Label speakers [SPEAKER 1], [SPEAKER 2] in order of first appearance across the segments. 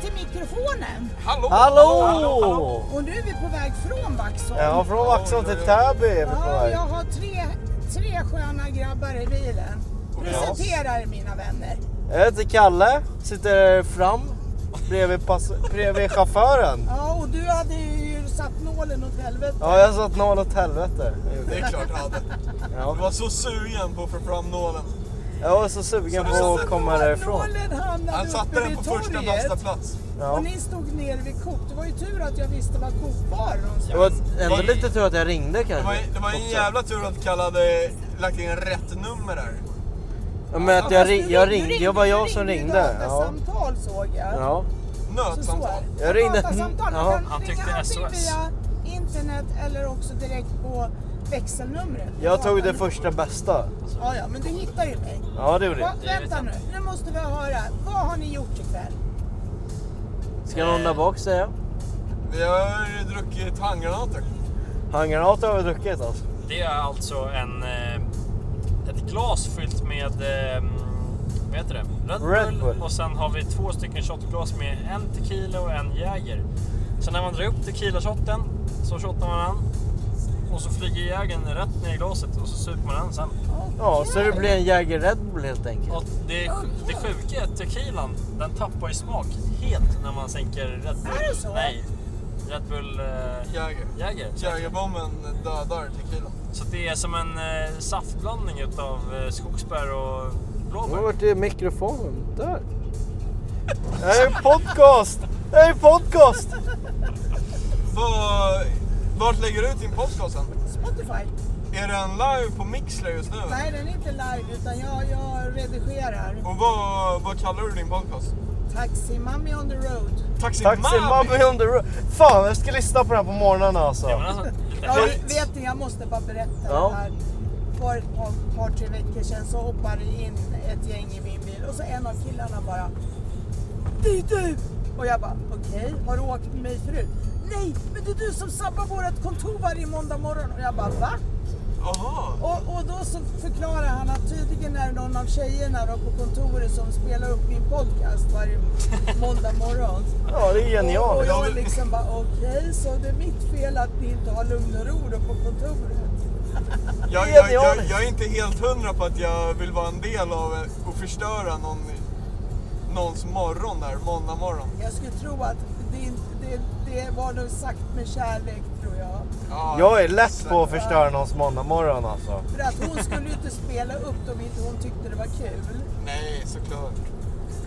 [SPEAKER 1] till mikrofonen.
[SPEAKER 2] Hallå!
[SPEAKER 3] Hallå!
[SPEAKER 1] Och nu är vi på väg från Vaxholm.
[SPEAKER 3] Ja, från Vaxholm till Täby är vi på
[SPEAKER 1] Ja,
[SPEAKER 3] väg.
[SPEAKER 1] jag har tre, tre sköna grabbar i bilen. Presentera er mina vänner.
[SPEAKER 3] Jag heter Kalle, sitter fram bredvid, pass, bredvid chauffören.
[SPEAKER 1] Ja, och du hade ju satt nålen åt helvete.
[SPEAKER 3] Ja, jag satt nål åt helvete.
[SPEAKER 2] Det är klart jag hade. Jag
[SPEAKER 3] Ja.
[SPEAKER 2] var så sugen på att få fram nålen.
[SPEAKER 3] Jag var så sugen på att komma därifrån.
[SPEAKER 1] Nålen hamnade
[SPEAKER 2] Han satte
[SPEAKER 1] uppe
[SPEAKER 2] den
[SPEAKER 1] vid
[SPEAKER 2] på första
[SPEAKER 1] torget.
[SPEAKER 2] bästa plats.
[SPEAKER 3] Ja.
[SPEAKER 1] Och ni stod ner vid Coop. Det var ju tur att jag visste var Coop var någonstans.
[SPEAKER 3] Det var ändå lite tur att jag ringde
[SPEAKER 2] Det var,
[SPEAKER 3] kanske.
[SPEAKER 2] det var en
[SPEAKER 3] också.
[SPEAKER 2] jävla tur att Kalle hade lagt in rätt nummer där.
[SPEAKER 3] Ja, Men att
[SPEAKER 1] Fast
[SPEAKER 3] jag,
[SPEAKER 1] du
[SPEAKER 3] ri- jag
[SPEAKER 1] ringde-
[SPEAKER 3] ringde,
[SPEAKER 1] du
[SPEAKER 3] det var jag
[SPEAKER 1] du
[SPEAKER 3] som
[SPEAKER 1] ju
[SPEAKER 3] ringde. Ja.
[SPEAKER 1] Datasamtal såg jag.
[SPEAKER 3] Ja.
[SPEAKER 1] Så så är
[SPEAKER 2] Nödsamtal.
[SPEAKER 1] det.
[SPEAKER 3] Jag ringde-
[SPEAKER 1] Datasamtal.
[SPEAKER 3] Ja.
[SPEAKER 1] Man kan
[SPEAKER 4] Han
[SPEAKER 1] ringa
[SPEAKER 4] tyckte
[SPEAKER 1] antingen
[SPEAKER 4] SOS.
[SPEAKER 1] via internet eller också direkt på växelnumret.
[SPEAKER 3] Jag tog det
[SPEAKER 1] Datan-
[SPEAKER 3] första bästa.
[SPEAKER 1] Ja, ja, men du hittar ju mig.
[SPEAKER 3] Ja, det gjorde
[SPEAKER 1] Va,
[SPEAKER 3] jag.
[SPEAKER 1] vänta nu, nu måste vi höra. Vad har ni gjort ikväll?
[SPEAKER 3] Ska någon där bak säga?
[SPEAKER 2] Vi har druckit handgranater.
[SPEAKER 3] Handgranater har vi druckit alltså.
[SPEAKER 4] Det är alltså en, eh, ett glas fyllt med eh, vad heter det? Red,
[SPEAKER 3] Red
[SPEAKER 4] Bull.
[SPEAKER 3] Bull.
[SPEAKER 4] Och sen har vi två stycken shotglas med en tequila och en Jäger. Så när man drar upp tequila-shotten så shottar man den. Och så flyger Jägern rätt ner i glaset och så super man den sen.
[SPEAKER 3] Ja, så det
[SPEAKER 1] Okej.
[SPEAKER 3] blir en Jäger Red Bull helt enkelt.
[SPEAKER 4] Och det, det sjuka är att tequilan, den tappar ju smak helt när man sänker Red Bull.
[SPEAKER 1] Är det så?
[SPEAKER 4] Nej. Red Bull eh,
[SPEAKER 2] Jäger.
[SPEAKER 4] Jäger.
[SPEAKER 2] Jägerbomben dödar tequila.
[SPEAKER 4] Så det är som en eh, saftblandning utav eh, skogsbär och
[SPEAKER 3] Nu
[SPEAKER 4] blåbär.
[SPEAKER 3] vart det mikrofonen där. Det här är en podcast! Det här är en podcast!
[SPEAKER 2] Vad- Vart lägger du ut din podcast sen?
[SPEAKER 1] Spotify?
[SPEAKER 2] Är den live på Mixler just nu?
[SPEAKER 1] Nej, den är inte live utan jag, jag redigerar.
[SPEAKER 2] Och vad, vad kallar du din podcast?
[SPEAKER 1] Taxi Mummy on the road.
[SPEAKER 2] Taxi,
[SPEAKER 3] Taxi
[SPEAKER 2] Mami!
[SPEAKER 3] Mummy on the road. Fan, jag ska lyssna på den här på morgonen alltså.
[SPEAKER 4] Ja, men alltså, lite
[SPEAKER 1] Ja,
[SPEAKER 4] hett.
[SPEAKER 1] vet ni, jag måste bara berätta
[SPEAKER 3] Ja.
[SPEAKER 1] det här. För ett par, par, tre veckor sedan så hoppade in ett gäng i min bil och så en av killarna bara Det är du! Och jag bara okej, har du åkt med mig förut? Nej, men det är du som sabbar vårt kontor varje måndag morgon. Och jag bara va?
[SPEAKER 2] Jaha!
[SPEAKER 1] Och, och då så förklarar han att tydligen är det någon av tjejerna då på kontoret som spelar upp min podcast varje måndag morgon.
[SPEAKER 3] Ja, det
[SPEAKER 1] Och,
[SPEAKER 3] är
[SPEAKER 1] och
[SPEAKER 3] genialt.
[SPEAKER 1] jag liksom bara okej, så det är mitt fel att ni inte har lugn och ro då på kontoret.
[SPEAKER 2] Jag,
[SPEAKER 3] Det är
[SPEAKER 2] jag, jag,
[SPEAKER 3] genialiskt.
[SPEAKER 2] jag är inte helt hundra på att jag vill vara en del av eh, och förstöra någon, någons morgon där, måndag morgon.
[SPEAKER 1] Jag skulle tro att det, det, det var nog sagt med kärlek tror jag.
[SPEAKER 2] Ja,
[SPEAKER 3] Jag är lätt på att förstöra någons måndagmorgon alltså.
[SPEAKER 1] För att hon skulle ju inte spela upp dem inte hon tyckte det var kul.
[SPEAKER 2] Nej, såklart.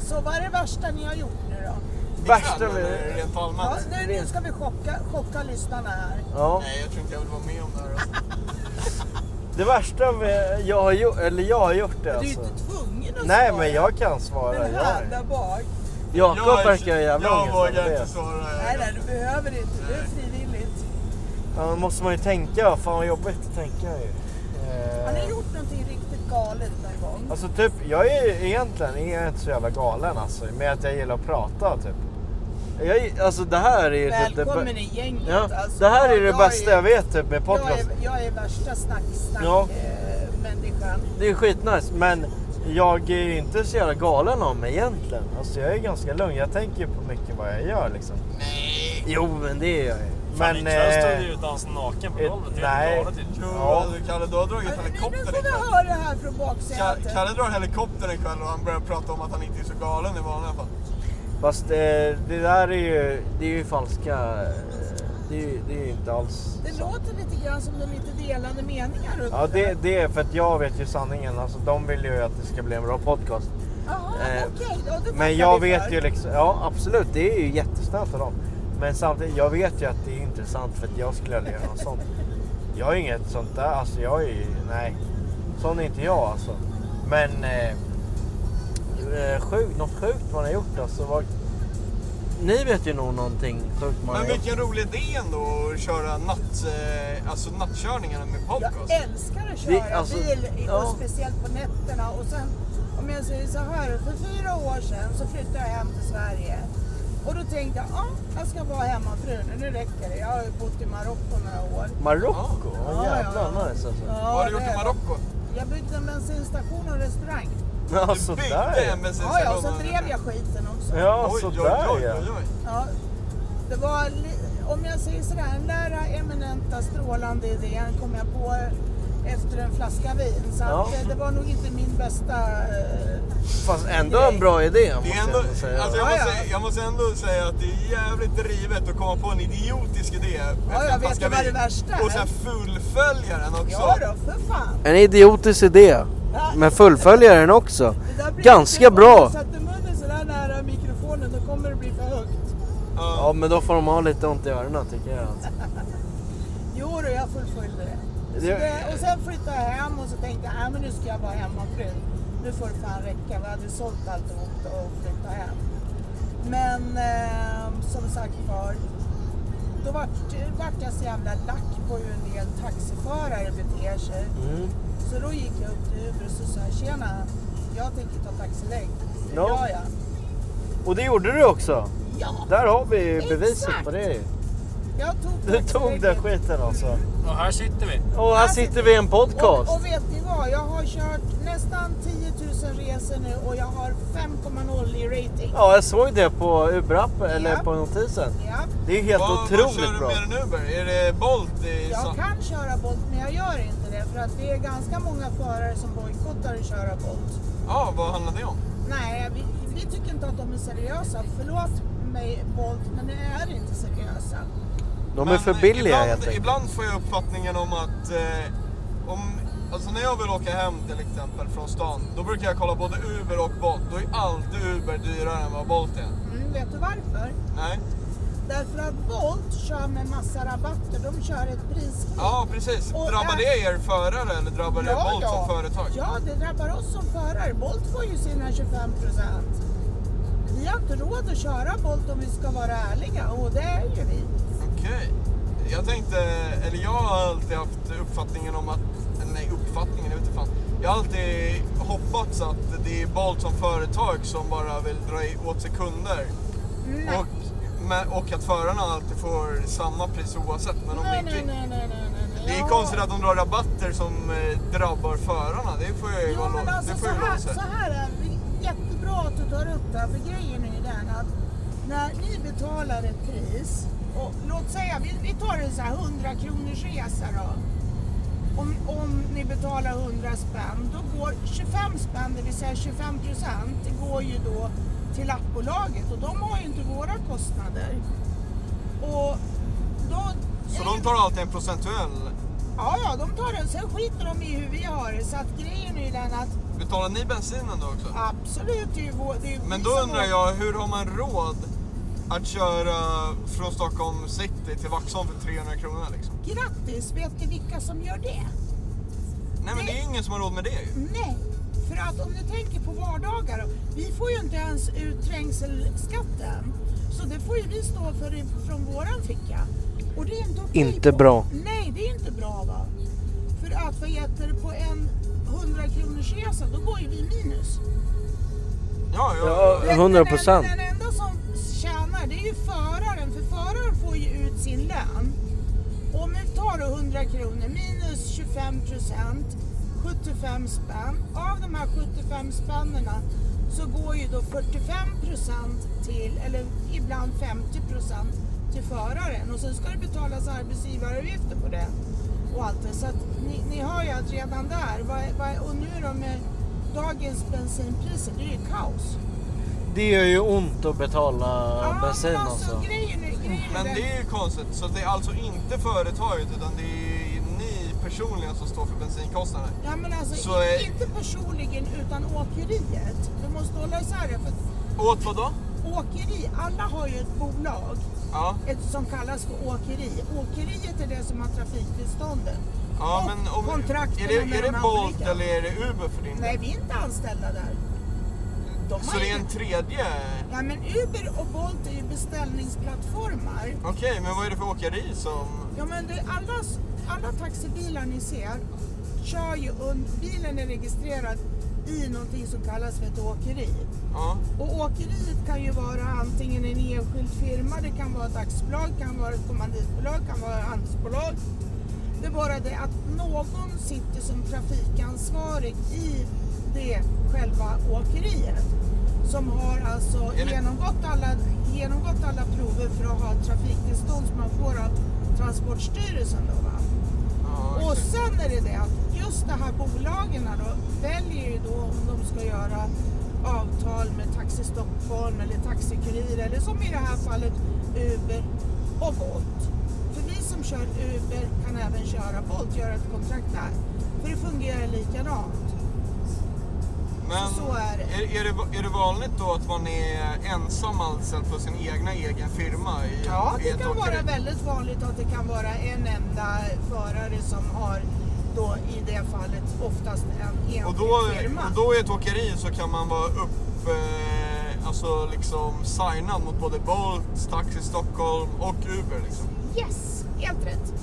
[SPEAKER 1] Så vad är det värsta ni har gjort nu då?
[SPEAKER 3] Värsta
[SPEAKER 2] Ikväll, eller
[SPEAKER 3] med...
[SPEAKER 2] Rent
[SPEAKER 1] Ja,
[SPEAKER 2] allmänt.
[SPEAKER 1] nu, nu ska vi chocka, chocka lyssnarna här.
[SPEAKER 3] Ja.
[SPEAKER 2] Nej, jag tror inte jag vill vara med om det här. alltså.
[SPEAKER 3] Det värsta med jag har gjort, eller jag har gjort
[SPEAKER 1] Du
[SPEAKER 3] det
[SPEAKER 1] är ju
[SPEAKER 3] alltså.
[SPEAKER 1] inte tvungen att
[SPEAKER 3] Nej,
[SPEAKER 1] svara.
[SPEAKER 3] men jag kan svara.
[SPEAKER 1] Den
[SPEAKER 3] Jag
[SPEAKER 1] här
[SPEAKER 3] är.
[SPEAKER 1] där bak.
[SPEAKER 3] Jakob verkar jävla
[SPEAKER 2] Jag vågar inte eh,
[SPEAKER 3] ångestad.
[SPEAKER 2] svara.
[SPEAKER 1] Nej, nej, du behöver inte. Det är frivilligt.
[SPEAKER 3] Ja, då måste man ju tänka. Fan vad jobbigt att tänka ju. Eh,
[SPEAKER 1] Har ni gjort någonting riktigt galet någon gång?
[SPEAKER 3] Alltså typ, jag är ju egentligen är jag inte så jävla galen alltså. Med att jag gillar att prata typ. Jag, alltså det här är ju typ det,
[SPEAKER 1] Välkommen
[SPEAKER 3] bä-
[SPEAKER 1] i gänget.
[SPEAKER 3] ja,
[SPEAKER 1] alltså.
[SPEAKER 3] det här är
[SPEAKER 1] Jag-
[SPEAKER 3] det
[SPEAKER 1] jag
[SPEAKER 3] bästa jag vet typ med
[SPEAKER 1] Jag
[SPEAKER 3] podcast.
[SPEAKER 1] är, jag är värsta eh,
[SPEAKER 3] Ja.
[SPEAKER 1] snack-snack-människan.
[SPEAKER 3] Det är skitnice men jag är ju inte så jävla galen om mig egentligen. Alltså jag är ganska lugn. Jag tänker ju på mycket vad jag gör liksom.
[SPEAKER 2] Nej!
[SPEAKER 3] Jo men det är jag ju.
[SPEAKER 4] Fan,
[SPEAKER 3] Men...
[SPEAKER 4] ikväll stod
[SPEAKER 3] eh,
[SPEAKER 4] du ju och dansade naken på
[SPEAKER 3] ett-
[SPEAKER 4] golvet.
[SPEAKER 3] nej.
[SPEAKER 4] Nej.
[SPEAKER 3] Ja.
[SPEAKER 2] Ja. Du, Kalle, du har dragit
[SPEAKER 1] Alltså, Nu
[SPEAKER 2] helikopter
[SPEAKER 1] får vi
[SPEAKER 3] liksom.
[SPEAKER 2] ikväll.
[SPEAKER 1] höra här från
[SPEAKER 2] Ka-
[SPEAKER 1] baksätet.
[SPEAKER 2] Kalle drar helikoptern ikväll och han börjar prata om att han inte är så galen i vanliga fall.
[SPEAKER 3] Fast eh, det där är ju, det är ju falska... eh, Det är ju, det är ju inte alls...
[SPEAKER 1] Det låter lite grann som de lite delade meningar. runt
[SPEAKER 3] Ja det, det är för att jag vet ju sanningen. Alltså de vill ju att det ska bli en bra podcast.
[SPEAKER 1] Jaha,
[SPEAKER 3] eh,
[SPEAKER 1] okej. ja, det tackar
[SPEAKER 3] Men jag
[SPEAKER 1] vi
[SPEAKER 3] vet
[SPEAKER 1] för.
[SPEAKER 3] ju liksom, ja absolut det är ju jättesnällt av dem. Men samtidigt, jag vet ju att det är intressant för att jag skulle aldrig göra något sånt. Jag är inget sånt där, alltså jag är ju, nej. Sån är inte jag alltså. Men, eh, eh, sjukt, något sjukt man har gjort alltså. Vad, ni vet ju nog någonting sjukt man har
[SPEAKER 2] Men
[SPEAKER 3] gjort.
[SPEAKER 2] vilken rolig idé ändå att köra natt, eh, alltså nattkörningarna med podcast.
[SPEAKER 1] Jag älskar att köra
[SPEAKER 3] Det- alltså,
[SPEAKER 1] bil, i- och
[SPEAKER 3] ja.
[SPEAKER 1] speciellt på nätterna. Och sen, om jag säger så här, för fyra år sedan så flyttade jag hem till Sverige. Och då tänkte jag, ja, jag ska vara hemmafru nu, nu räcker det. Jag har ju bott i Marocko några år.
[SPEAKER 3] Marocko?
[SPEAKER 1] Ja,
[SPEAKER 3] Ja, jävlar
[SPEAKER 1] ja.
[SPEAKER 3] nice alltså.
[SPEAKER 1] Ja,
[SPEAKER 2] Vad har du gjort
[SPEAKER 1] det-
[SPEAKER 2] i Marocko?
[SPEAKER 1] Jag byggde en bensinstation och restaurang.
[SPEAKER 3] Ja,
[SPEAKER 2] Du byggde
[SPEAKER 3] sådär.
[SPEAKER 2] en
[SPEAKER 1] Ja, ja, och
[SPEAKER 2] bensinstationen.
[SPEAKER 1] så drev jag skiten också.
[SPEAKER 3] Ja,
[SPEAKER 2] Oj, oj,
[SPEAKER 3] sådär
[SPEAKER 2] oj,
[SPEAKER 3] ja.
[SPEAKER 2] oj, oj.
[SPEAKER 1] Ja, det var, li- om jag säger sådär, den där eminenta strålande idén kom jag på efter en flaska vin. Så
[SPEAKER 3] Ja.
[SPEAKER 1] att, eh, det var nog inte min bästa... eh,
[SPEAKER 3] Fast ändå en bra idé
[SPEAKER 2] Det
[SPEAKER 3] måste
[SPEAKER 2] är
[SPEAKER 3] jag
[SPEAKER 2] ändå,
[SPEAKER 3] ändå säga.
[SPEAKER 2] alltså jag,
[SPEAKER 1] Ja,
[SPEAKER 2] måste,
[SPEAKER 1] ja.
[SPEAKER 2] säga- jag måste ändå säga att det är jävligt drivet att komma på en idiotisk idé efter
[SPEAKER 1] jag vet
[SPEAKER 2] en flaska
[SPEAKER 1] ju vad det
[SPEAKER 2] vin.
[SPEAKER 1] värsta är.
[SPEAKER 2] Och sen fullfölja den också.
[SPEAKER 1] Ja då, för fan.
[SPEAKER 3] En idiotisk idé. Men fullfölja den också.
[SPEAKER 1] Det där blir
[SPEAKER 3] Ganska
[SPEAKER 1] inte-
[SPEAKER 3] bra.
[SPEAKER 1] Om du sätter munnen sådär nära mikrofonen då kommer det bli för högt.
[SPEAKER 2] Ja.
[SPEAKER 3] Ja, men då får de ha lite ont i öronen tycker jag. Alltså.
[SPEAKER 1] Jo då, jag fullföljde det. Så
[SPEAKER 3] Det-
[SPEAKER 1] det. Och sen flyttade jag hem och så tänkte jag, "Nej, men nu ska jag vara hemmafru. Nu får det fan räcka. Vi hade sålt alltihop och flyttat hem. Men ehm, som sagt var, då vart vart jag så jävla lack på hur en del taxiförare beter sig.
[SPEAKER 3] Mm.
[SPEAKER 1] Så då gick jag upp till Uber och så sa jag, tjena, jag tänker ta taxilägg.
[SPEAKER 3] Ja.
[SPEAKER 1] Ja, ja.
[SPEAKER 3] Och det gjorde du också.
[SPEAKER 1] Ja,
[SPEAKER 3] Där har vi beviset
[SPEAKER 1] Exakt.
[SPEAKER 3] på det.
[SPEAKER 1] jag tog
[SPEAKER 3] Du tog den
[SPEAKER 1] taxilägget.
[SPEAKER 3] skiten alltså.
[SPEAKER 4] Och här sitter vi.
[SPEAKER 3] Och här sitter vi i en podcast.
[SPEAKER 1] Och, och vet ni vad? Jag har kört nästan 10 000 resor nu och jag har 5,0 i rating.
[SPEAKER 3] Ja, jag såg det på Uber-appen, eller
[SPEAKER 1] Ja.
[SPEAKER 3] på notisen.
[SPEAKER 1] Ja,
[SPEAKER 3] Det är helt
[SPEAKER 2] vad, vad kör
[SPEAKER 3] otroligt
[SPEAKER 2] du
[SPEAKER 3] bra.
[SPEAKER 2] med den Uber? Är det Bolt? I
[SPEAKER 1] jag
[SPEAKER 2] Sam-
[SPEAKER 1] kan köra Bolt men jag gör inte det för att vi är ganska många förare som bojkottar att köra Bolt.
[SPEAKER 2] Ja, vad handlar det om?
[SPEAKER 1] Nej, vi, vi tycker inte att de är seriösa. Förlåt mig Bolt, men de är inte seriösa.
[SPEAKER 3] De är
[SPEAKER 2] Men
[SPEAKER 3] för billiga
[SPEAKER 2] ibland,
[SPEAKER 3] helt enkelt.
[SPEAKER 2] Ibland får jag uppfattningen om att... Eh, om, alltså när jag vill åka hem till exempel från stan, då brukar jag kolla både Uber och Bolt. Då är alltid Uber dyrare än vad Bolt är.
[SPEAKER 1] Mm, vet du varför?
[SPEAKER 2] Nej?
[SPEAKER 1] Därför att Bolt kör med massa rabatter. De kör ett prisfritt.
[SPEAKER 2] Ja, precis.
[SPEAKER 1] Och
[SPEAKER 2] Drabbar
[SPEAKER 1] där-
[SPEAKER 2] det er förare eller drabbar det Bolt som företag?
[SPEAKER 1] Ja, det drabbar oss som förare. Bolt får ju sina 25 procent. Vi har inte råd att köra Bolt om vi ska vara ärliga och det är ju vi.
[SPEAKER 2] Okej. Jag tänkte, eller jag har alltid haft uppfattningen om att, nej uppfattningen, jag vet inte fan. Jag har alltid hoppats att det är Bolt som företag som bara vill dra i- åt sig kunder.
[SPEAKER 1] Nej.
[SPEAKER 2] Och, men, och att förarna alltid får samma pris oavsett. Men om det,
[SPEAKER 1] nej,
[SPEAKER 2] inte,
[SPEAKER 1] nej, nej, nej, nej, nej, nej.
[SPEAKER 2] det är
[SPEAKER 1] Ja.
[SPEAKER 2] konstigt att de drar rabatter som eh, drabbar förarna. Det får jag ju
[SPEAKER 1] Jo,
[SPEAKER 2] vara
[SPEAKER 1] men
[SPEAKER 2] lov-
[SPEAKER 1] alltså
[SPEAKER 2] det
[SPEAKER 1] så
[SPEAKER 2] får jag ju lov
[SPEAKER 1] här,
[SPEAKER 2] att säga.
[SPEAKER 1] så här är det jättebra att du tar upp det här, för grejen är ju den att när ni betalar ett pris, och låt säga, vi, vi tar en så här 100 kronors resa då. Om, om ni betalar 100 spänn, då går 25 spänn, det vill säga 25 procent, det går ju då till appbolaget och de har ju inte våra kostnader. Och då...
[SPEAKER 2] Så de tar alltid en procentuell.
[SPEAKER 1] Ja, ja, de tar den. Sen skiter de i hur vi har det. Så att grejen är ju den att
[SPEAKER 2] Betalar ni bensinen då också?
[SPEAKER 1] Absolut, det är ju vår, det är ju
[SPEAKER 2] Men
[SPEAKER 1] vi
[SPEAKER 2] då
[SPEAKER 1] som
[SPEAKER 2] undrar
[SPEAKER 1] har-
[SPEAKER 2] jag, hur har man råd att köra från Stockholm city till Vaxholm för 300 kronor liksom?
[SPEAKER 1] Grattis, vet ni vilka som gör det?
[SPEAKER 2] Nej men det är ju ingen som har råd med det ju.
[SPEAKER 1] Nej, för att om ni tänker på vardagar. då, Vi får ju inte ens ut trängselskatten. Så det får ju vi stå för i- från våran ficka. Och det är inte okej.
[SPEAKER 3] Inte
[SPEAKER 1] på-
[SPEAKER 3] bra.
[SPEAKER 1] Nej, det är inte bra va. För att vad heter det, på en 100 kronors resa då går ju vi minus.
[SPEAKER 2] Ja, ja,
[SPEAKER 3] Ja.
[SPEAKER 2] ja.
[SPEAKER 1] Men
[SPEAKER 3] 100%.
[SPEAKER 1] Den, den enda som tjänar det är ju föraren, för föraren får ju ut sin lön. Om vi tar då 100 kronor minus 25 procent, 75 spänn. Av de här 75 spännena så går ju då 45 procent till, eller ibland 50 procent till föraren och sen ska det betalas arbetsgivaravgifter på det. Och allt det. Så att ni, ni hör ju att redan där, vad, vad, och nu då med dagens bensinpriser, det är ju kaos.
[SPEAKER 3] Det gör ju ont att betala
[SPEAKER 1] Ja,
[SPEAKER 3] bensin
[SPEAKER 1] men alltså.
[SPEAKER 3] alltså.
[SPEAKER 1] Grejen är, grejen är
[SPEAKER 2] Men
[SPEAKER 1] den-
[SPEAKER 2] det är ju konstigt. Så det är alltså inte företaget utan det är ni personligen som står för bensinkostnaderna.
[SPEAKER 1] Ja, men alltså,
[SPEAKER 2] så är-
[SPEAKER 1] Inte personligen, utan åkeriet. Du måste hålla isär det. För att
[SPEAKER 2] Åt vad då?
[SPEAKER 1] åkeri, alla har ju ett bolag
[SPEAKER 2] Ja,
[SPEAKER 1] ett som kallas för åkeri. Åkeriet är det som har trafiktillstånden.
[SPEAKER 2] ja
[SPEAKER 1] Och
[SPEAKER 2] men om,
[SPEAKER 1] kontrakten
[SPEAKER 2] är det,
[SPEAKER 1] med
[SPEAKER 2] är det
[SPEAKER 1] de
[SPEAKER 2] Bolt
[SPEAKER 1] olika.
[SPEAKER 2] eller är det Uber för din
[SPEAKER 1] Nej,
[SPEAKER 2] del?
[SPEAKER 1] vi är inte anställda där. De
[SPEAKER 2] Så
[SPEAKER 1] har
[SPEAKER 2] det är
[SPEAKER 1] ju-
[SPEAKER 2] en tredje?
[SPEAKER 1] Ja, men Uber och Bolt är ju beställningsplattformar.
[SPEAKER 2] Okej, men vad är det för åkeri som...
[SPEAKER 1] Ja, men det, alla, alla taxibilar ni ser kör ju under... Bilen är registrerad i någonting som kallas för ett åkeri.
[SPEAKER 2] Ja,
[SPEAKER 1] Och åkeriet kan ju vara antingen en enskild firma, det kan vara ett aktiebolag, det kan vara ett kommanditbolag, det kan vara ett handelsbolag. Det är bara det att någon sitter som trafikansvarig i det är själva åkeriet som har alltså
[SPEAKER 2] Är det-
[SPEAKER 1] genomgått alla, genomgått alla prover för att ha trafiktillstånd som man får av Transportstyrelsen då va?
[SPEAKER 2] Ja,
[SPEAKER 1] Och
[SPEAKER 2] exakt.
[SPEAKER 1] sen är det det att just de här bolagen då väljer ju då om de ska göra avtal med Taxi Stockholm eller Taxikurir eller som i det här fallet Uber och Bolt. För vi som kör Uber kan även köra Bolt, göra ett kontrakt där. För det fungerar likadant.
[SPEAKER 2] Men
[SPEAKER 1] så är det.
[SPEAKER 2] Är, är det. Är det vanligt då att man är ensam alltså på sin egna egen firma? I,
[SPEAKER 1] Ja,
[SPEAKER 2] i
[SPEAKER 1] det
[SPEAKER 2] ett
[SPEAKER 1] kan
[SPEAKER 2] åkeri?
[SPEAKER 1] vara väldigt vanligt att det kan vara en enda förare som har då i det fallet oftast en
[SPEAKER 2] Och
[SPEAKER 1] enskild
[SPEAKER 2] då,
[SPEAKER 1] firma.
[SPEAKER 2] och då i ett åkeri så kan man vara upp, eh, alltså liksom signad mot både Bolt, Taxi Stockholm och Uber liksom.
[SPEAKER 1] Yes, helt rätt.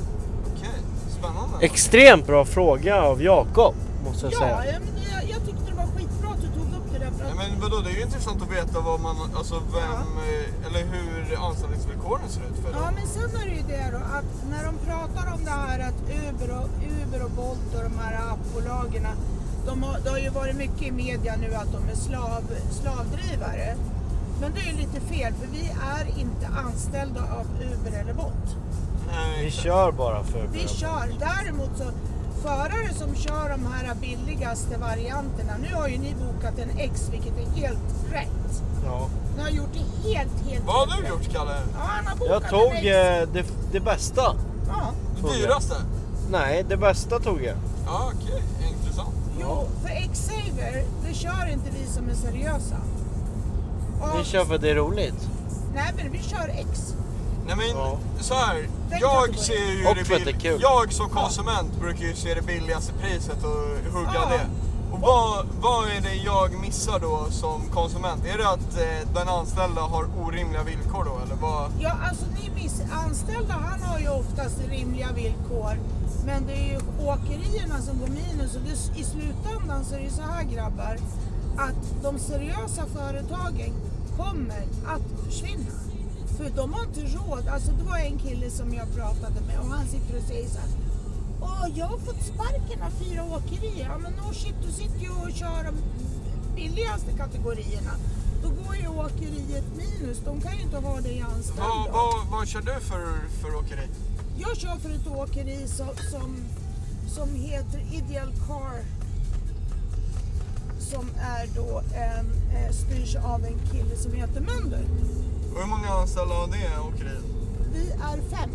[SPEAKER 2] Okej, spännande.
[SPEAKER 3] Extremt bra fråga av Jakob, måste jag
[SPEAKER 1] Ja,
[SPEAKER 3] säga.
[SPEAKER 1] jag, men jag, jag tyckte det var skitbra att du tog upp det där. För
[SPEAKER 2] Ja,
[SPEAKER 1] att,
[SPEAKER 2] men vadå, det är ju intressant att veta vad man, alltså vem, eh, eller hur anställningsvillkoren ser ut för
[SPEAKER 1] ja,
[SPEAKER 2] dem.
[SPEAKER 1] men sen är det ju det då att när de pratar om det här att Uber och, Uber och Bolt och de här appbolagen, de har, det har ju varit mycket i media nu att de är slav, slavdrivare. Men det är ju lite fel för vi är inte anställda av Uber eller Bolt.
[SPEAKER 2] Nej,
[SPEAKER 3] Vi
[SPEAKER 2] exakt.
[SPEAKER 3] kör bara för
[SPEAKER 1] Vi kör. Däremot så förare som kör de här billigaste varianterna, nu har ju ni bokat en X vilket är helt rätt.
[SPEAKER 3] Ja.
[SPEAKER 1] Ni har gjort det helt, helt
[SPEAKER 2] Vad
[SPEAKER 1] helt
[SPEAKER 2] har du
[SPEAKER 1] rätt.
[SPEAKER 2] gjort Kalle?
[SPEAKER 1] Ja, Ah, han har bokat
[SPEAKER 3] Jag tog
[SPEAKER 1] en ex-
[SPEAKER 3] eh, det, det bästa.
[SPEAKER 1] Ja.
[SPEAKER 2] Det
[SPEAKER 3] Tog jag.
[SPEAKER 2] dyraste?
[SPEAKER 3] Nej, det bästa tog jag.
[SPEAKER 2] Ja, okej, intressant.
[SPEAKER 1] Jo, för Xaver, det kör inte vi som är seriösa. Och,
[SPEAKER 3] Vi kör för det är roligt.
[SPEAKER 1] Nej, men vi kör X.
[SPEAKER 2] Nej men
[SPEAKER 3] Ja.
[SPEAKER 2] så här,
[SPEAKER 1] Tänk att
[SPEAKER 2] jag
[SPEAKER 1] det
[SPEAKER 2] ser ju
[SPEAKER 3] Och
[SPEAKER 2] det
[SPEAKER 3] för att det är
[SPEAKER 2] bill-
[SPEAKER 3] kul.
[SPEAKER 2] Jag som konsument brukar ju se det billigaste priset och hugga
[SPEAKER 1] Ja.
[SPEAKER 2] det. Och vad, vad är det jag missar då som konsument? Är det att eh, den anställda har orimliga villkor då eller vad?
[SPEAKER 1] Ja, alltså ni miss- anställda, han har ju oftast rimliga villkor. Men det är ju åkerierna som går minus och det, i slutändan så är det ju så här grabbar, att de seriösa företagen kommer att försvinna. För de har inte råd. Alltså det var en kille som jag pratade med och han sitter och säger så här. Åh, jag har fått sparken av fyra åkerier. Ja men no shit, du sitter ju och kör de billigaste kategorierna. Då går ju åkeriet minus. De kan ju inte ha dig anställd.
[SPEAKER 2] Vad,
[SPEAKER 1] då.
[SPEAKER 2] vad, vad kör du för, för åkeri?
[SPEAKER 1] Jag kör för ett åkeri som, som, som heter Ideal Car. Som är då en, eh, styrs av en kille som heter Mönder.
[SPEAKER 2] Och hur många anställda har det åkeriet?
[SPEAKER 1] Vi är fem.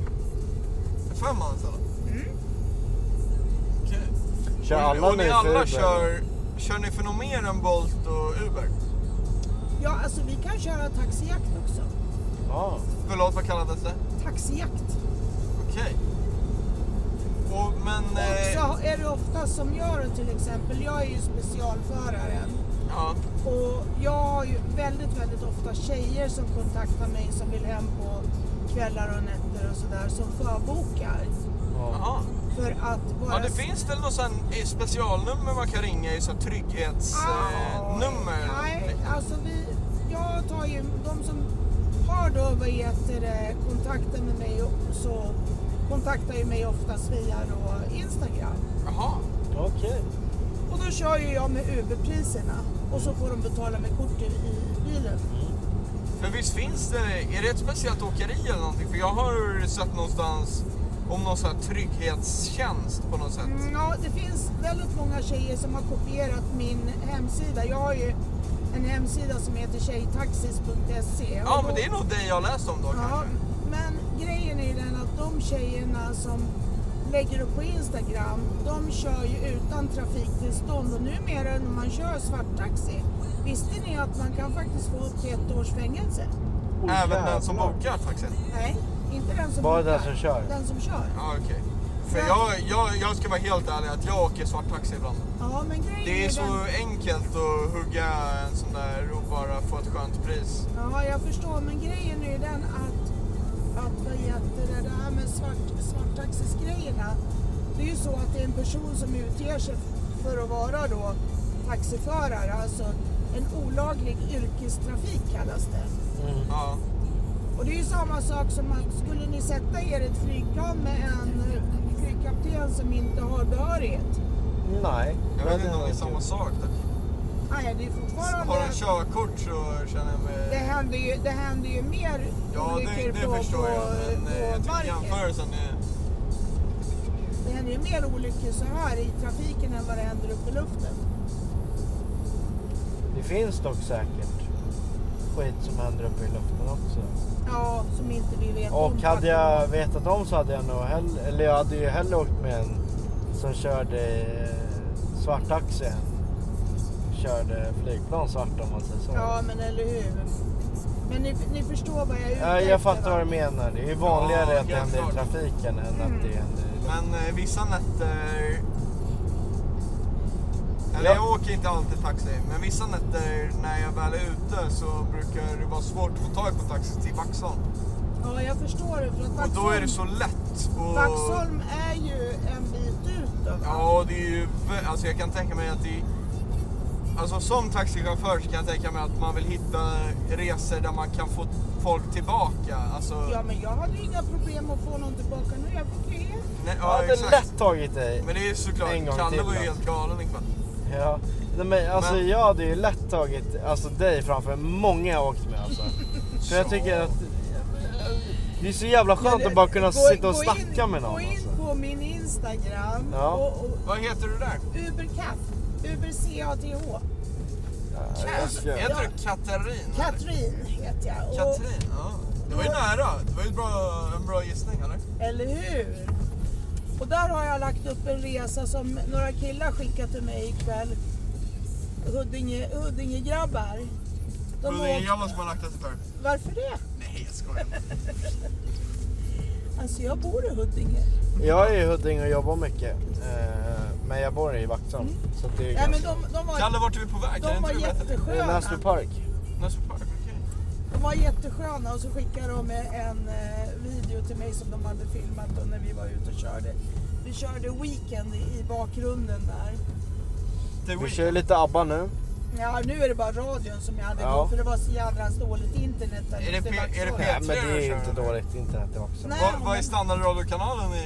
[SPEAKER 2] Fem anställda? alltså.
[SPEAKER 1] Mm.
[SPEAKER 2] Okej.
[SPEAKER 3] Kör
[SPEAKER 2] Och-
[SPEAKER 3] alla
[SPEAKER 2] Och ni
[SPEAKER 3] med för
[SPEAKER 2] alla
[SPEAKER 3] Uber?
[SPEAKER 2] kör, kör ni för något mer än Bolt och Uber?
[SPEAKER 1] Ja, alltså vi kan köra taxijakt också.
[SPEAKER 3] Ja.
[SPEAKER 2] Förlåt, vad kallades det?
[SPEAKER 1] Taxijakt.
[SPEAKER 2] Okej. Och men...
[SPEAKER 1] Och
[SPEAKER 2] eh,
[SPEAKER 1] så är det ofta som jag då till exempel, jag är ju specialföraren.
[SPEAKER 2] ja.
[SPEAKER 1] Och jag har ju väldigt, väldigt ofta tjejer som kontaktar mig som vill hem på kvällar och nätter och sådär som förbokar.
[SPEAKER 3] ja.
[SPEAKER 2] Jaha.
[SPEAKER 1] För att våra...
[SPEAKER 2] Ja, det finns väl något sån eh, specialnummer man kan ringa i, sån eh,
[SPEAKER 1] Ah,
[SPEAKER 2] trygghetsnummer?
[SPEAKER 1] Nej, alltså vi... Jag tar ju... De som har då, vad heter det, kontakten med mig och så kontaktar ju mig oftast via då Instagram.
[SPEAKER 2] Jaha.
[SPEAKER 3] Okej.
[SPEAKER 1] Och då kör ju jag med Uberpriserna och så får de betala med kort i, i bilen.
[SPEAKER 2] För visst finns det, är det ett speciellt åkeri eller någonting? För jag har sett någonstans om någon sån här trygghetstjänst på något sätt.
[SPEAKER 1] Mm, ja, det finns väldigt många tjejer som har kopierat min hemsida. Jag har ju en hemsida som heter tjejtaxis.se.
[SPEAKER 2] Ja,
[SPEAKER 1] Och
[SPEAKER 2] men
[SPEAKER 1] då-
[SPEAKER 2] det är nog det jag läst om då
[SPEAKER 1] Ja,
[SPEAKER 2] kanske.
[SPEAKER 1] men grejen är ju den att de tjejerna som lägger upp på Instagram, de kör ju utan trafiktillstånd och numera när man kör svarttaxi, visste ni att man kan faktiskt få upp till ett års fängelse?
[SPEAKER 3] Oj,
[SPEAKER 2] Även den som
[SPEAKER 3] jävlar.
[SPEAKER 2] bokar faktiskt.
[SPEAKER 1] Nej, inte den som
[SPEAKER 3] Bara
[SPEAKER 1] bokar,
[SPEAKER 3] den som kör.
[SPEAKER 1] Den som kör.
[SPEAKER 2] Ja, okej. För
[SPEAKER 1] Ja.
[SPEAKER 2] jag, jag, jag ska vara helt ärlig att jag åker svart taxi ibland.
[SPEAKER 1] Ja, men grejen
[SPEAKER 2] Det är
[SPEAKER 1] ju den...
[SPEAKER 2] så enkelt att hugga en sån där och bara få ett skönt pris.
[SPEAKER 1] Ja, jag förstår, men grejen är ju den att, att vad heter det, det här med svart, svarttaxisgrejerna. Det är ju så att det är en person som utger sig för att vara då taxiförare, alltså en olaglig yrkestrafik kallas det.
[SPEAKER 3] Mm.
[SPEAKER 2] Ja.
[SPEAKER 1] Och det är ju samma sak som man, skulle ni sätta er i ett flygplan med en eh, flygkapten som inte har behörighet?
[SPEAKER 3] Nej.
[SPEAKER 2] Jag
[SPEAKER 3] men
[SPEAKER 2] vet inte om det är
[SPEAKER 3] var kul.
[SPEAKER 2] samma sak. Där.
[SPEAKER 1] han gör. Det är fortfarande...
[SPEAKER 2] Har han körkort så känner jag
[SPEAKER 1] Det
[SPEAKER 2] mig...
[SPEAKER 1] händer ju, det händer ju mer
[SPEAKER 2] Ja, det, det
[SPEAKER 1] på,
[SPEAKER 2] förstår
[SPEAKER 1] på,
[SPEAKER 2] jag. Men eh, jag
[SPEAKER 1] på
[SPEAKER 2] tycker
[SPEAKER 1] marken.
[SPEAKER 2] jämförelsen är...
[SPEAKER 1] Det händer ju mer olyckor så här i trafiken än vad det händer uppe i luften.
[SPEAKER 3] Det finns dock säkert skit som händer uppe i luften också.
[SPEAKER 1] Ja, som inte vi vet om.
[SPEAKER 3] Och hade jag vetat om så hade jag nog hellre, eller jag hade ju hellre åkt med en som körde eh, svarttaxi än körde flygplan svart om man säger så.
[SPEAKER 1] Ja, men eller hur. Men ni, ni förstår vad jag är ute
[SPEAKER 3] Ja, jag
[SPEAKER 1] efter,
[SPEAKER 3] fattar
[SPEAKER 1] va?
[SPEAKER 3] vad du menar. Det är ju vanligare
[SPEAKER 2] Ja,
[SPEAKER 3] att det
[SPEAKER 2] helt
[SPEAKER 3] händer i
[SPEAKER 2] klart.
[SPEAKER 3] trafiken än att det händer i luften.
[SPEAKER 2] Men eh, vissa nätter... Eller
[SPEAKER 3] Ja.
[SPEAKER 2] jag åker inte alltid taxi, men vissa nätter när jag väl är ute så brukar det vara svårt att få tag på taxi till Vaxholm.
[SPEAKER 1] Ja, jag förstår det. För att
[SPEAKER 2] Och
[SPEAKER 1] Vaxholm,
[SPEAKER 2] då är det så lätt. Och...
[SPEAKER 1] Vaxholm är ju en bit ut då, va?
[SPEAKER 2] Ja, och det är ju... vä- Alltså jag kan tänka mig att det... Alltså som taxichaufför så kan jag tänka mig att man vill hitta resor där man kan få folk tillbaka. Alltså...
[SPEAKER 1] Ja, men jag hade ju inga problem att få någon tillbaka nu. Jag fick ju helt...
[SPEAKER 2] Nej,
[SPEAKER 3] Jag
[SPEAKER 2] ja,
[SPEAKER 3] hade
[SPEAKER 2] exakt.
[SPEAKER 3] lätt tagit dig.
[SPEAKER 2] Men det är ju såklart,
[SPEAKER 3] En gång
[SPEAKER 2] Kalle
[SPEAKER 3] till
[SPEAKER 2] var ju
[SPEAKER 3] då.
[SPEAKER 2] helt galen ikväll.
[SPEAKER 3] Ja. Nej, men alltså
[SPEAKER 2] Men-
[SPEAKER 3] jag hade ju lätt tagit alltså, dig framför många jag åkt med alltså. För jag tycker att det är så jävla skönt att bara kunna
[SPEAKER 1] Gå-
[SPEAKER 3] sitta och
[SPEAKER 1] gå
[SPEAKER 3] snacka
[SPEAKER 1] in,
[SPEAKER 3] med
[SPEAKER 1] Gå
[SPEAKER 3] någon.
[SPEAKER 1] in
[SPEAKER 3] Alltså.
[SPEAKER 1] på min Instagram
[SPEAKER 3] Ja.
[SPEAKER 1] och, och
[SPEAKER 2] Vad heter du där?
[SPEAKER 1] Uber Cath. Uber C-A-T-H.
[SPEAKER 3] Ja, jag-
[SPEAKER 2] Heter du Katarin? eller?
[SPEAKER 1] Katrin heter jag. Och,
[SPEAKER 2] Katrin, ja. Det var ju nära. Det var ju ett bra, en bra gissning, eller?
[SPEAKER 1] Eller hur? Och där har jag lagt upp en resa som några killar skickat till mig ikväll. Huddinge, Huddingegrabbar. De
[SPEAKER 2] Och det är
[SPEAKER 1] åkte-
[SPEAKER 2] jag som har lagt det för.
[SPEAKER 1] Varför det?
[SPEAKER 2] Nej, jag skojar.
[SPEAKER 1] Alltså jag bor i Huddinge.
[SPEAKER 3] Jag är i Huddinge och jobbar mycket. Eh, Men jag bor i Vaxholm. Så att det är
[SPEAKER 1] Nej men
[SPEAKER 3] ganska...
[SPEAKER 1] de, de var,
[SPEAKER 2] Kalle, vart är vi på väg?
[SPEAKER 1] de
[SPEAKER 2] Kan
[SPEAKER 1] var
[SPEAKER 2] inte du berätta det?
[SPEAKER 3] Eh,
[SPEAKER 1] jättesköna.
[SPEAKER 3] Näsby Park.
[SPEAKER 2] Näsby Park, okej.
[SPEAKER 1] De var jättesköna och så skickade de en eh, video till mig som de hade filmat då när vi var ute och körde. Vi körde Weekend i bakgrunden där.
[SPEAKER 2] The
[SPEAKER 3] Vi
[SPEAKER 2] Weeknd.
[SPEAKER 3] kör lite ABBA nu.
[SPEAKER 1] Ja, nu är det bara radion som jag hade
[SPEAKER 3] Ja.
[SPEAKER 1] på för det var så jävla dåligt internet där
[SPEAKER 2] Är det
[SPEAKER 1] ute i
[SPEAKER 2] P- är det
[SPEAKER 1] Vaxholm.
[SPEAKER 2] P-
[SPEAKER 3] Nej, men
[SPEAKER 2] tror jag
[SPEAKER 3] det är
[SPEAKER 2] kör
[SPEAKER 3] inte
[SPEAKER 2] nu.
[SPEAKER 3] dåligt internet i Vaxholm.
[SPEAKER 1] Nej,
[SPEAKER 2] Vad- Vad är
[SPEAKER 1] men-
[SPEAKER 2] standardradiokanalen i...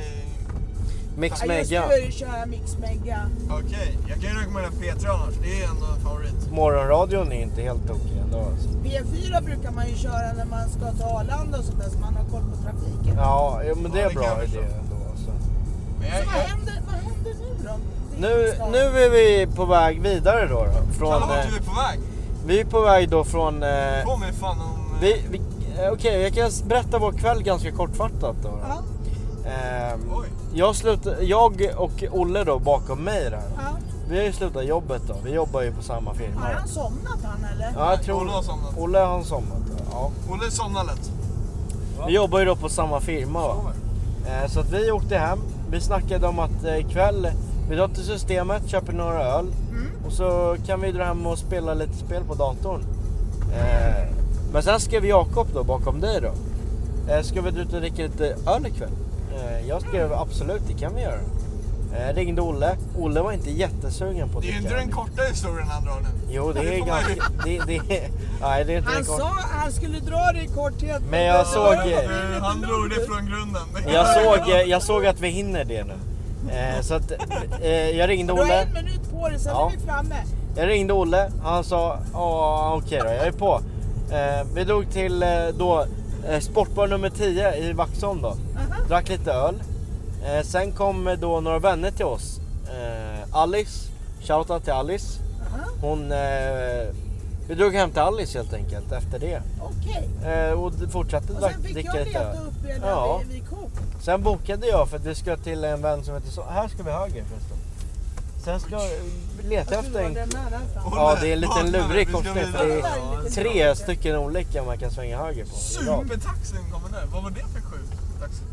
[SPEAKER 3] Mix
[SPEAKER 1] Ja, just
[SPEAKER 3] Mega,
[SPEAKER 1] nu kör jag Mix Mega.
[SPEAKER 2] Okej, jag kan ju rekommendera P3 annars. Det är ändå en favorit.
[SPEAKER 3] morgonradion är inte helt tokig ändå. Alltså.
[SPEAKER 1] P4 brukar man ju köra när man ska till Arlanda och sånt där så man har koll på trafiken.
[SPEAKER 3] Ja, jo, men det
[SPEAKER 2] Ja,
[SPEAKER 3] är
[SPEAKER 2] det kan jag
[SPEAKER 3] bra idé
[SPEAKER 2] förstå.
[SPEAKER 3] ändå. Alltså.
[SPEAKER 2] Men
[SPEAKER 1] Så
[SPEAKER 2] jag,
[SPEAKER 1] vad
[SPEAKER 2] jag,
[SPEAKER 1] händer, vad händer nu då?
[SPEAKER 3] Nu, nu är vi på väg vidare då. då från,
[SPEAKER 2] Kalle, vart är
[SPEAKER 3] eh,
[SPEAKER 2] vi på väg?
[SPEAKER 3] vi är på väg då från... Eh,
[SPEAKER 2] Påminn fan om... eh,
[SPEAKER 3] vi, vi, eh, Okej, jag kan s- berätta vår kväll ganska kortfattat då. då.
[SPEAKER 1] Ja,
[SPEAKER 3] Ehm,
[SPEAKER 2] Oj.
[SPEAKER 3] jag, slut, jag och Olle då bakom mig där.
[SPEAKER 1] ja.
[SPEAKER 3] Vi har ju slutat jobbet då. Vi jobbar ju på samma firma.
[SPEAKER 1] Har han somnat han eller?
[SPEAKER 3] Ja, jag tror,
[SPEAKER 2] Olle har somnat.
[SPEAKER 3] Olle har somnat. Ja.
[SPEAKER 2] Olle somnar lätt.
[SPEAKER 3] Vi jobbar ju då på samma firma va. Eh, Så att vi åkte hem. Vi snackade om att eh, ikväll, vi drar till systemet, köper några öl.
[SPEAKER 2] Mm.
[SPEAKER 3] Och så kan vi dra hem och spela lite spel på datorn. Eh, Men sen skrev Jakob då, bakom dig då. eh, Ska vi ut och dricka lite öl ikväll? Eh, Jag skrev
[SPEAKER 2] Mm.
[SPEAKER 3] absolut, det kan vi göra. Eh, Ringde Olle. Olle var inte jättesugen på att
[SPEAKER 2] Det är ju inte
[SPEAKER 3] dricka
[SPEAKER 2] den
[SPEAKER 3] öl.
[SPEAKER 2] korta historien han drar nu.
[SPEAKER 3] Jo, det
[SPEAKER 2] Det
[SPEAKER 3] är
[SPEAKER 2] får man ju-
[SPEAKER 3] ganska... Det, det, nej, det är inte
[SPEAKER 1] Han
[SPEAKER 3] den korta.
[SPEAKER 1] sa han skulle dra det i korthet.
[SPEAKER 3] Men jag
[SPEAKER 1] det
[SPEAKER 3] såg-
[SPEAKER 1] börjar bli
[SPEAKER 3] eh,
[SPEAKER 1] lite
[SPEAKER 2] Han drog det
[SPEAKER 1] långt.
[SPEAKER 2] från grunden.
[SPEAKER 3] Jag såg, eh, jag såg att vi hinner det nu. Eh, så att, eh, jag ringde
[SPEAKER 1] Du har
[SPEAKER 3] Olle.
[SPEAKER 1] en minut på dig sen
[SPEAKER 3] Ja.
[SPEAKER 1] är vi framme.
[SPEAKER 3] Jag ringde Olle. Han sa, ja okej då, jag är på. Eh, vi drog till eh, då eh, Sportbar nummer 10 i Vaxholm då. Drack lite öl. Eh, sen kom eh, då några vänner till oss. Eh, Alice, shoutout till Alice.
[SPEAKER 1] Aha,
[SPEAKER 3] Hon, eh, vi drog hem till Alice helt enkelt efter det.
[SPEAKER 1] Okej.
[SPEAKER 3] Eh, och fortsatte
[SPEAKER 1] Och
[SPEAKER 3] drack,
[SPEAKER 1] sen fick
[SPEAKER 3] dricka
[SPEAKER 1] jag
[SPEAKER 3] lite öl.
[SPEAKER 1] leta upp er där
[SPEAKER 3] Ja.
[SPEAKER 1] vid, vid Coop.
[SPEAKER 3] Sen bokade jag för att vi ska till en vän som heter så. Här ska vi höger förresten. Sen ska leta
[SPEAKER 1] Jag
[SPEAKER 3] efter
[SPEAKER 1] skulle vara
[SPEAKER 3] en...
[SPEAKER 1] den där där framme.
[SPEAKER 3] Ja, det är en liten
[SPEAKER 2] Vakna nu, vi
[SPEAKER 3] lurig
[SPEAKER 2] ska
[SPEAKER 3] korsning för
[SPEAKER 2] vidare.
[SPEAKER 3] det
[SPEAKER 1] Ja, en
[SPEAKER 3] är
[SPEAKER 1] liten
[SPEAKER 3] tre
[SPEAKER 1] korsning.
[SPEAKER 3] stycken olika man kan svänga höger på. i rad.
[SPEAKER 2] Supertaxin kommer nu. Vad var det för sjuk taxi?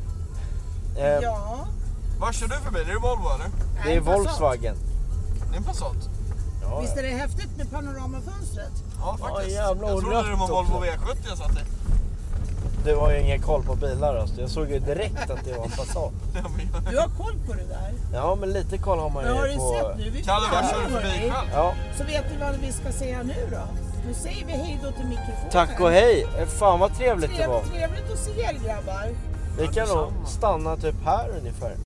[SPEAKER 3] Eh,
[SPEAKER 1] Ja.
[SPEAKER 2] Vad kör du förbi? Det är Volvo eller?
[SPEAKER 3] Det är
[SPEAKER 1] Nej, Passat.
[SPEAKER 3] Volkswagen.
[SPEAKER 2] Det är en Passat?
[SPEAKER 3] Ja,
[SPEAKER 1] Visst
[SPEAKER 3] ja.
[SPEAKER 1] är det häftigt med panoramafönstret?
[SPEAKER 2] Ja faktiskt.
[SPEAKER 3] jävlar,
[SPEAKER 2] jag
[SPEAKER 3] och
[SPEAKER 2] trodde det var
[SPEAKER 3] rött
[SPEAKER 2] Volvo
[SPEAKER 3] också.
[SPEAKER 2] V70 jag satt i.
[SPEAKER 3] Du har ju ingen koll på bilar alltså. Jag såg ju direkt att det var en Passat.
[SPEAKER 2] Ja, men jag-
[SPEAKER 1] Du har koll på det där.
[SPEAKER 3] Ja men lite koll har man
[SPEAKER 1] Men har du
[SPEAKER 3] ju på...
[SPEAKER 1] sett nu? Vi
[SPEAKER 2] Kalle, vad kör du
[SPEAKER 1] framme,
[SPEAKER 2] förbi
[SPEAKER 1] hörni.
[SPEAKER 2] själv?
[SPEAKER 3] Ja,
[SPEAKER 1] Så vet du vad vi ska säga nu då? Nu säger vi hej då till mikrofonen.
[SPEAKER 3] tack och hej! Eh, Fan vad trevligt det var.
[SPEAKER 1] Trevligt, trevligt att se er grabbar.
[SPEAKER 3] Vi kan nog stanna typ här ungefär.